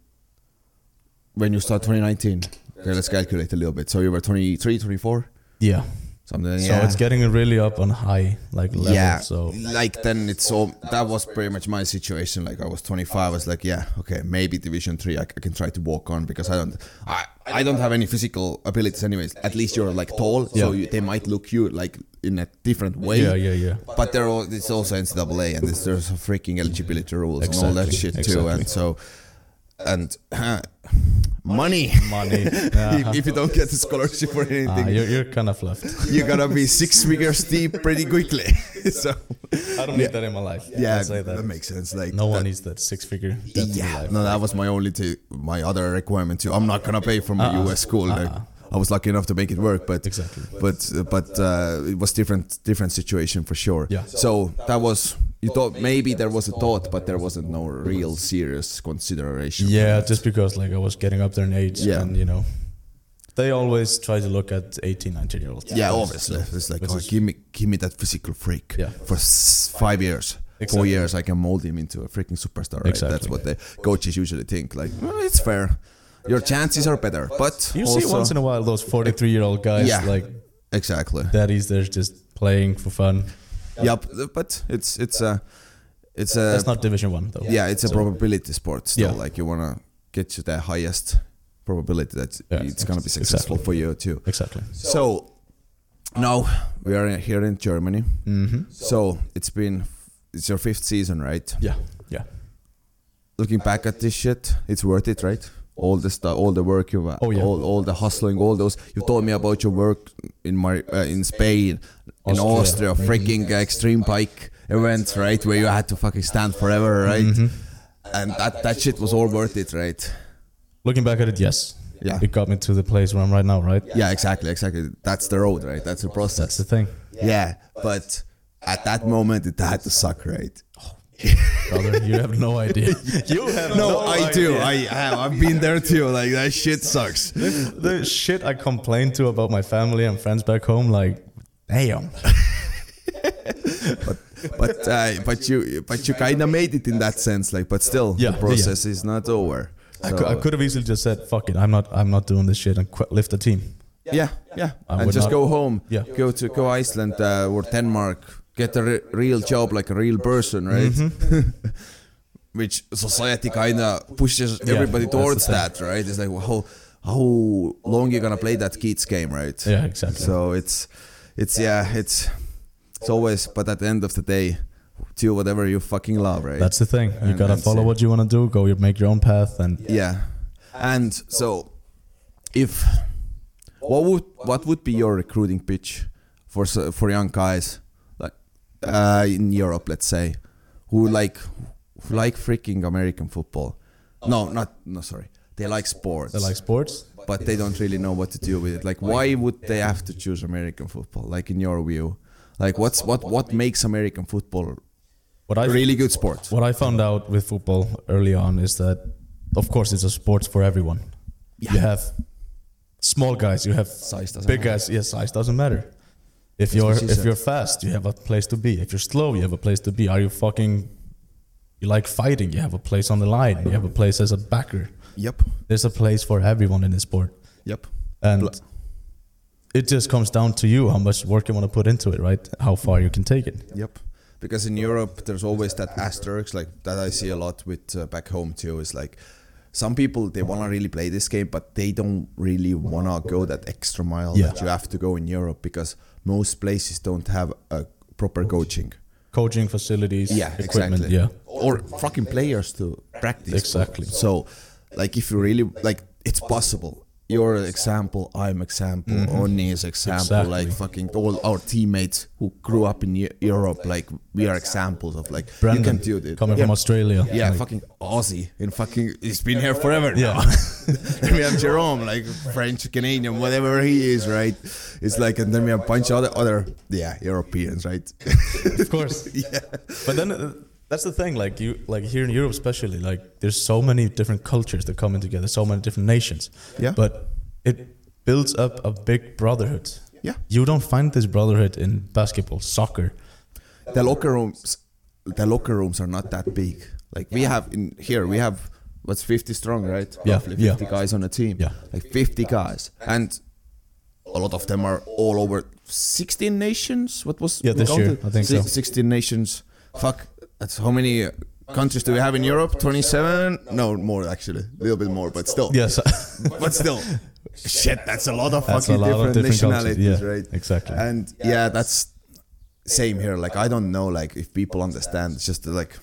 When you started 2019, okay, let's calculate a little bit. So you were 23, 24,
yeah,
something.
so
yeah.
it's getting really up on high like level.
yeah.
So
like then it's all that was pretty much my situation. Like I was 25, I was like, yeah, okay, maybe Division Three, I, c- I can try to walk on because I don't, I, I don't have any physical abilities anyways. At least you're like tall, so
Yeah.
you, they might look you like in a different way.
yeah, yeah, yeah.
But there are, it's also NCAA and it's, there's freaking eligibility rules and all that
Exactly,
shit too.
exactly.
And so, and money.
Money.
if, if you don't get a scholarship or anything,
Ah, you're, you're kind of left.
you're gonna be six figures deep pretty quickly. so
I don't need that in my life.
yeah,
I'll say
that.
that.
makes sense. Like
no
that-
one needs that six figure. debt in their
yeah,
life.
no, that was my only t- my other requirement too. I'm not gonna pay for my U.S. school. Like, I was lucky enough to make it work, but
Ah, Exactly.
but but uh, it was different different situation for sure.
Yeah.
So that was you thought maybe there was a thought, but there wasn't no real serious consideration.
Yeah, just because like I was getting up there in age,
Yeah.
and you know, they always try to look at 18, 19 year olds.
Yeah, obviously. It's like,
Which
oh,
is-
give me, give me that physical freak
Yeah.
for s- five years, four
Exactly.
years. I can mold him into a freaking superstar. Right? That's
Exactly.
what the coaches usually think. Like, well, it's fair. Your chances are better, but
You
also,
see once in a while those 43 year old guys,
Yeah.
like
exactly.
daddies, they're just playing for fun.
Yep. But it's it's a it's a
That's not Division One though.
Uh, yeah, it's a
So-
probability sport. Still,
Yeah.
like you wanna get to the highest probability that
Yeah,
it's gonna be
exactly.
successful for you too.
Exactly.
So now we are here in Germany.
Mm-hmm.
So it's been it's your fifth season, right?
Yeah, yeah.
Looking back at this shit, it's worth it, right? All the stuff, all the work you,
Oh, yeah.
all all the hustling, all those. You told me about your work in my uh, in Spain, in Austria,
Austria. Mm-hmm.
freaking uh, extreme bike events, right? Where you had to fucking stand forever, right?
Mm-hmm.
And that that shit was all worth it, right?
Looking back at it, yes.
Yeah.
It got me to the place where I'm right now, right?
Yeah, exactly, exactly. That's the road, right? That's the
That's
process.
the thing.
Yeah, but at that moment it had to suck, right?
Brother, you have no idea. you have
No,
no,
I do. I have. I've been there too. Like that shit sucks.
the shit I complain to about my family and friends back home, like, damn.
But uh, but you but you kind of made it in that sense. Like, but still,
Yeah,
the process is not over.
I, could, I
So,
could have easily just said, "Fuck it, I'm not, I'm not doing this shit," and qu- lift the team.
Yeah, yeah.
I
and
would
just
not-
go home.
Yeah.
Go to go Iceland uh, or Denmark. Get a re- real job like a real person, right?
Mm-hmm.
Which society kind of pushes everybody
that's the
towards
thing.
that, right? It's like, well, how how long you gonna play that kids game, right?
Yeah, exactly.
So it's it's yeah, it's it's always but at the end of the day, do whatever you fucking love, right?
That's the thing. You
And
gotta
that's
follow
it.
what you want to do. Go, you make your own path, and
yeah. And so if what would what would be your recruiting pitch for s- for young guys like uh, in Europe, let's say, who like who like freaking American football? No, not no. Sorry, they like sports,
They like sports.
but they don't really know what to do with it. Like, why would they have to choose American football? Like in your view, like what's what what makes American football
What I
a really good sport?
what I found out with football early on is that, of course, it's a sport for everyone. You have small guys, you have
Size doesn't
big
matter.
guys. Yeah, size doesn't matter. If
what
you're
she
if
said.
you're fast, you have a place to be. If you're slow, you have a place to be. Are you fucking? You like fighting? You have a place on the line. You have a place as a backer.
Yep,
There's a place for everyone in this sport,
yep.
and
Bl-
it just comes down to you how much work you want to put into it, right? How far you can take it.
Yep. Because in Europe, there's always that asterisk, like that I see a lot with uh, back home too. Is like some people they want to really play this game, but they don't really want to go that extra mile that
Yeah.
you have to go in Europe because most places don't have a proper coaching.
Coaching facilities,
Yeah,
equipment,
exactly.
yeah.
Or fucking players to practice.
Exactly.
So, like, if you really like, it's possible. You're an example. I'm example. Oni is example.
Mm-hmm. Exactly.
Like fucking all our teammates who grew up in Eu- Europe. Like we are examples of like you can do this.
coming
yeah.
from Australia.
Yeah,
like-
fucking Aussie in fucking he's been here forever. now.
Yeah.
then we have Jerome, like French, Canadian, whatever he is, right? It's like, and then we have a bunch of other, other yeah, Europeans, right?
of course. yeah. But then uh, that's the thing, like you, like here in Europe especially, like there's so many different cultures that come in together, so many different nations.
Yeah.
But it builds up a big brotherhood.
Yeah.
You don't find this brotherhood in basketball, soccer.
the locker rooms the locker rooms are not that big like we have in here we have what's 50 strong right
Yeah,
roughly
yeah.
50 guys on a team
Yeah.
like 50 guys and a lot of them are all over 16 nations what was
Yeah,
we
this year,
counted?
I think
Six-
so.
16 nations fuck that's how many countries do we have in europe 27 no more actually a little bit more but still
Yes.
but still shit that's a lot of
That's a
fucking
lot of
different,
different cultures,
nationalities
yeah,
right
exactly.
and yeah that's same here like i don't know like if people understand it's just like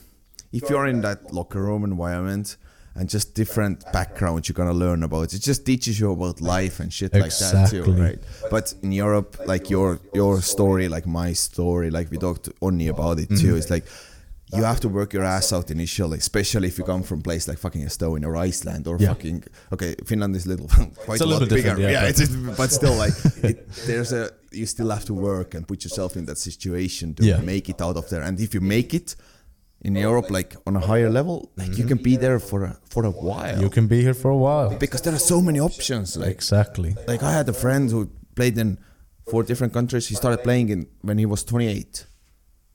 if you're in that locker room environment and just different backgrounds you're gonna learn about it just teaches you about life and shit like that too
Exactly.
right but in europe like your your story like my story like we talked only about it
Mm-hmm.
too it's like you have to work your ass out initially, especially if you come from place like fucking Estonia or Iceland or
Yeah.
fucking okay, Finland is little quite a,
a little
lot
bit different,
bigger. Yeah,
yeah, but-
it's it's- but still like it, there's a you still have to work and put yourself in that situation to
Yeah.
make it out of there and if you make it in europe like on a higher level like you can be there for a, for a while
Mm-hmm. you can be here for a while.
because there are so many options like
Exactly.
like i had a friend who played in four different countries he started playing in when he was 28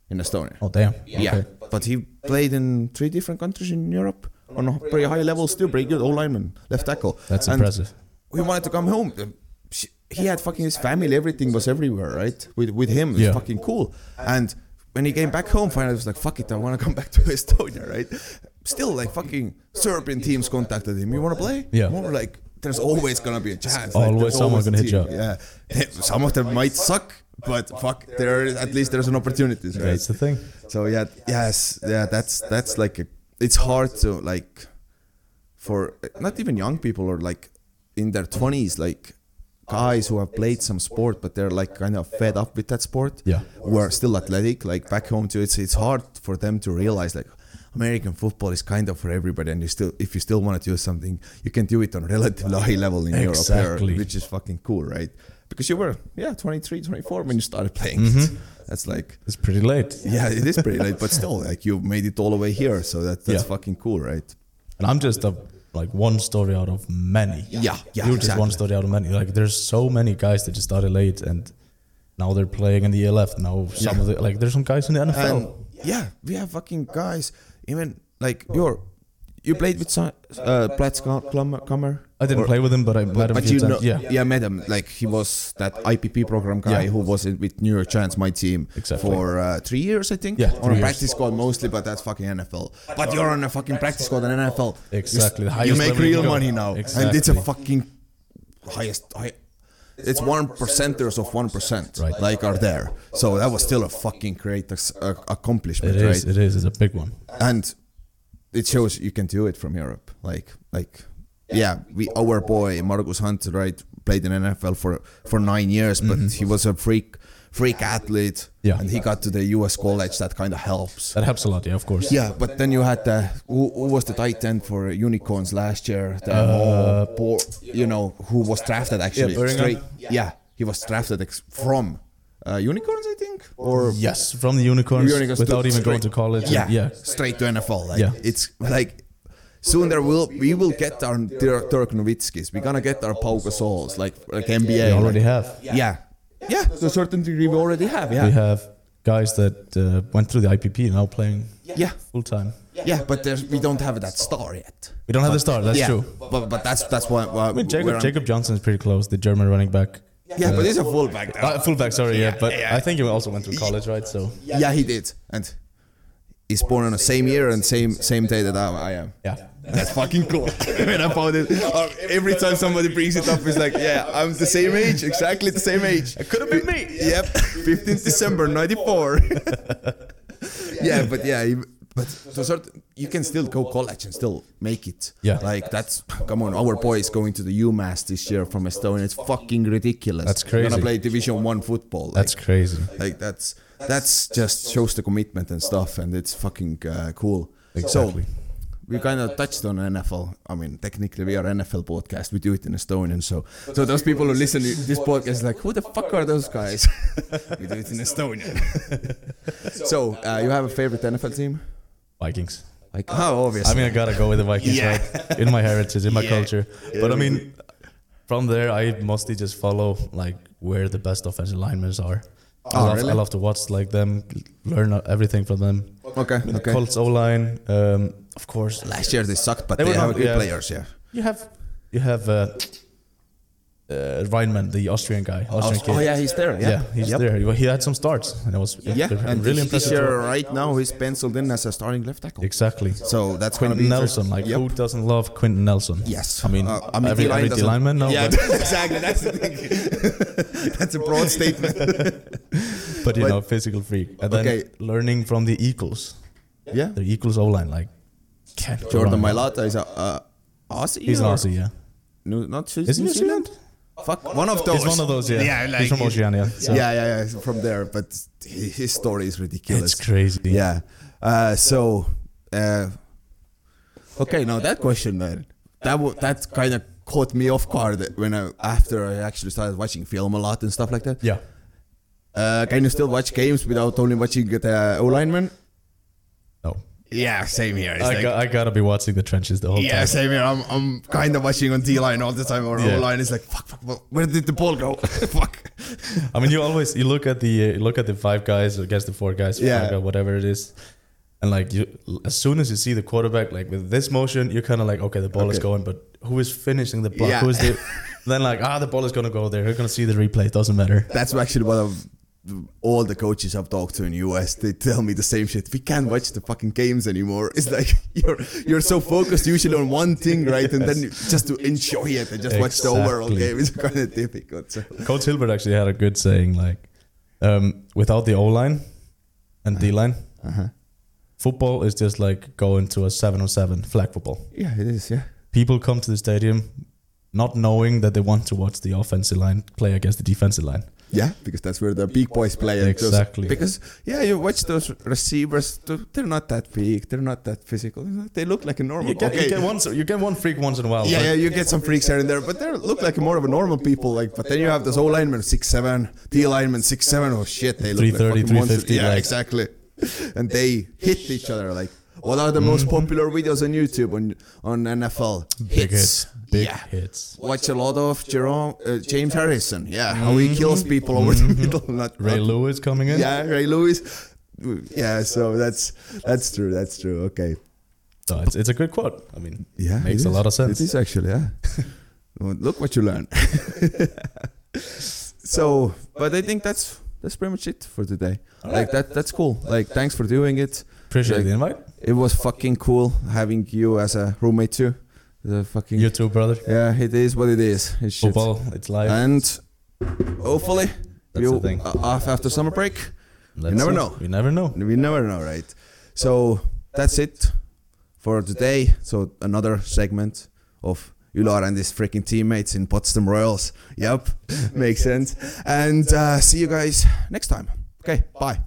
in estonia
Oh damn.
yeah,
Okay.
but he played in three different countries in Europe on a pretty high level, still pretty good. O lineman, left tackle.
That's
And
impressive.
We wanted to come home. The- sh- He had fucking his family, everything was everywhere, right? With with him, it was
Yeah.
fucking cool. And when he came back home, finally, I was like, fuck it, I want to come back to Estonia, right? Still, like, fucking Serbian teams contacted him. You want to play?
Yeah.
More like, there's always going to be a chance. Like,
Always
there's
someone
a
gonna hit you
team. Yeah. uh, Some of them might suck, but fuck, there is, at least there's an opportunity, right?
That's the thing.
So yeah, yes, yeah, that's that's like a, it's hard to like for not even young people or like in their 20s like guys who have played some sport but they're like kind of fed up with that sport
Yeah.
who are still athletic like back home too it's it's hard for them to realize like american football is kind of for everybody and you still if you still want to do something you can do it on a relatively high level in europe
Exactly.
here, which is fucking cool right because you were yeah 23 24 when you started playing
Mm-hmm.
it. that's like
It's pretty late.
yeah, it is pretty late, but still, like you made it all the way here, so that that's
Yeah.
fucking cool, right?
And I'm just a like one story out of many.
Yeah, yeah,
You're just one
exactly.
story out of many. Like there's so many guys that just started late and now they're playing in the ELF. Now some
Yeah.
of the like there's some guys in the NFL.
And yeah, we have fucking guys. Even like you're, you played with Sa- uh, Platz Kammer.
I didn't play with him, but I met him a
But
few
you
times.
know,
yeah.
yeah, yeah, madam. Like he was that IPP program guy
Yeah.
who was in, with New York Giants, my team,
Exactly.
for uh, three years, I think.
Yeah,
on
three
a
years.
practice squad mostly, but that's fucking NFL. But you're on a fucking practice squad in NFL. You s-
Exactly, the
You
highest
make
level you
real
go.
money now, and
Exactly.
it's a fucking highest. High, it's one percenters of one percent,
Right.
like are there. So that was still a fucking great ac- uh, accomplishment,
It is,
right?
it is, it's a big one.
and it shows you can do it from Europe. Like like yeah, we Mm-hmm. our boy Marcus Hunter right played in NFL for for nine years, but he was a freak freak athlete,
Yeah.
and he got to the U.S. college. That kind of helps.
That helps a lot, yeah, of course.
Yeah, but then you had the who, who was the tight end for Unicorns last year? The uh, poor, you know, who was drafted actually?
Beringham.
yeah. he was drafted ex- from uh, Unicorns, I think, or
Yes, from the unicorns,
Unicorns
without
to-
even going to
straight-
college. and-
Yeah,
yeah.
straight to NFL. Like,
Yeah.
it's like soon there will we will get our Dirk Dirk Nowitzkis. We're gonna get our Pau Gasols, like like NBA.
We already
like-
have.
Yeah, yeah, to a certain degree we already have. Yeah,
We have guys that uh, went through the IPP now playing
yeah,
full time.
yeah, but there's, we don't have that star yet.
We don't have the star. That's
yeah,
true.
But but that's that's why. why
I mean,
where
Jacob,
I'm-
Jacob Johnson is pretty close, the German running back.
Yeah, but he's a fullback. Now.
Uh, fullback, sorry, yeah, but
yeah.
I think he also went through college, right? So
yeah, he did, and he's born on the same year and same same day that I, I am.
yeah,
That's fucking cool. when I found it, uh, every time somebody brings it up, it's like, yeah, I'm the same age, exactly the same age. It could have been me. Yep, 15th December '94. yeah, but yeah, you- but to a certain, you can still go college and still make it.
Yeah.
like that's come on. Our boy is going to the UMass this year from Estonia. It's fucking ridiculous.
That's
We're
crazy.
gonna play Division One football. Like,
that's crazy.
like that's that's just shows the commitment and stuff and it's fucking uh, cool
Exactly.
so we kind of touched on nfl i mean technically we are nfl podcast we do it in estonian so so those people who listen to this podcast like who the fuck are those guys we do it in estonian so uh, you have a favorite nfl team
Vikings.
like how obvious
I mean, I gotta go with the Vikings,
Yeah.
right? In my heritage, in my culture. But I mean, from there, I mostly just follow like where the best offensive linemen are. I,
Oh,
love,
really?
I love to watch like them, learn everything from them.
okay okay
Colts O line, um, of course.
last year they sucked but
They
they,
were
have
not-
good
yeah.
players yeah
You have, you have uh, uh, Reinman, the Austrian guy, Austrian kid.
oh yeah he's there yeah,
Yeah, he's
Yep.
there. He had some starts, and it was
yeah, and
really
this- this
impressive.
year right now he's penciled in as a starting left tackle.
Exactly.
So that's going to be
Quinton Nelson,
interesting.
like
Yep.
who doesn't love Quinton Nelson?
Yes,
I mean,
Uh,
every,
D-line
every
doesn't-
lineman, no,
yeah,
but,
exactly. That's the thing. that's a broad statement.
but, you
but-
know, physical freak. And then
Okay.
learning from the Eagles,
Yeah,
the Eagles O line, like can't go
Jordan
wrong.
Mailata is a uh, Aussie.
He's an
or-
Aussie, yeah.
No, not New
Is he New Zealand?
Fuck, one of those.
He's one of those, yeah. he's from Oceania. So.
Yeah, yeah, yeah. he's From there, but he- his story is ridiculous.
it's crazy.
Yeah. Uh, so, uh, okay, now that question then that w- that kind of caught me off guard when I after I actually started watching film a lot and stuff like that.
yeah.
Uh, can you still watch games without only watching uh, the O lineman?
No,
Yeah, same here. It's
I,
like-
got, I gotta be watching the trenches the whole
yeah,
time.
same here. I'm, I'm kind of watching on D line all the time or
Yeah.
O line. It's like fuck, fuck, fuck, where did the ball go? fuck.
I mean, you always you look at the uh, you look at the five guys or guess the four guys,
Yeah.
five guy, whatever it is, and like you, as soon as you see the quarterback like with this motion, you're kind of like, okay, the ball is
Okay.
going, but who is finishing the block?
Yeah.
Who is the? then like, ah, the ball is gonna go there. You're gonna see the replay. It doesn't matter.
That's actually what I've. All the coaches I've talked to in US, they tell me the same shit. We can't watch the fucking games anymore. It's like you're you're so focused usually on one thing, right? And then you, just to enjoy it and just watch the overall
Exactly.
game is kind of difficult. So.
Coach Hilbert actually had a good saying like, um, without the O line and D line,
Uh-huh.
football is just like going to a seven on seven flag football.
Yeah, it is. Yeah.
people come to the stadium not knowing that they want to watch the offensive line play against the defensive line.
Yeah, because that's where the big boys play. and those-
Exactly.
because yeah, you watch those receivers; th- they're not that big, they're not that physical. They look like a normal.
You get,
okay.
you get one, you get one freak once in a while.
yeah,
but
yeah, you get some freaks here and there, but they look like more of a normal people. Like, but then you have those O linemen six seven, D linemen six seven. Oh shit, they look like
330,
fucking monsters.
350,
Yeah,
like-
exactly. And they hit each other. Like, what are the most popular videos on YouTube on on NFL?
Mm. big hits, big
yeah
hits.
watch a lot of Jerome uh, James Harrison. Yeah, how he kills people over the middle. Not,
Mm-hmm. Ray
not-
Lewis coming in.
Yeah, Ray Lewis. Yeah, so that's that's true. That's true. Okay.
So it's, it's a good quote. I mean,
Yeah,
makes
it
a lot of
is.
sense.
It is actually. Yeah. Well, Look what you learn. so, but I think that's that's pretty much it for today. Like that. That's cool. Like thanks for doing it.
Appreciate
Like,
the invite.
It was fucking cool having you as a roommate too. The fucking
You too, brother.
yeah, it is what it is. It's shit.
Football, it's live.
and hopefully
That's
you
the thing.
are off after summer break.
Let's
never
see.
know.
We never know.
We never know, right? So that's it for today. So another segment of Ülar and his freaking teammates in Potsdam Royals. Yep, makes sense. And uh, see you guys next time. Okay, bye.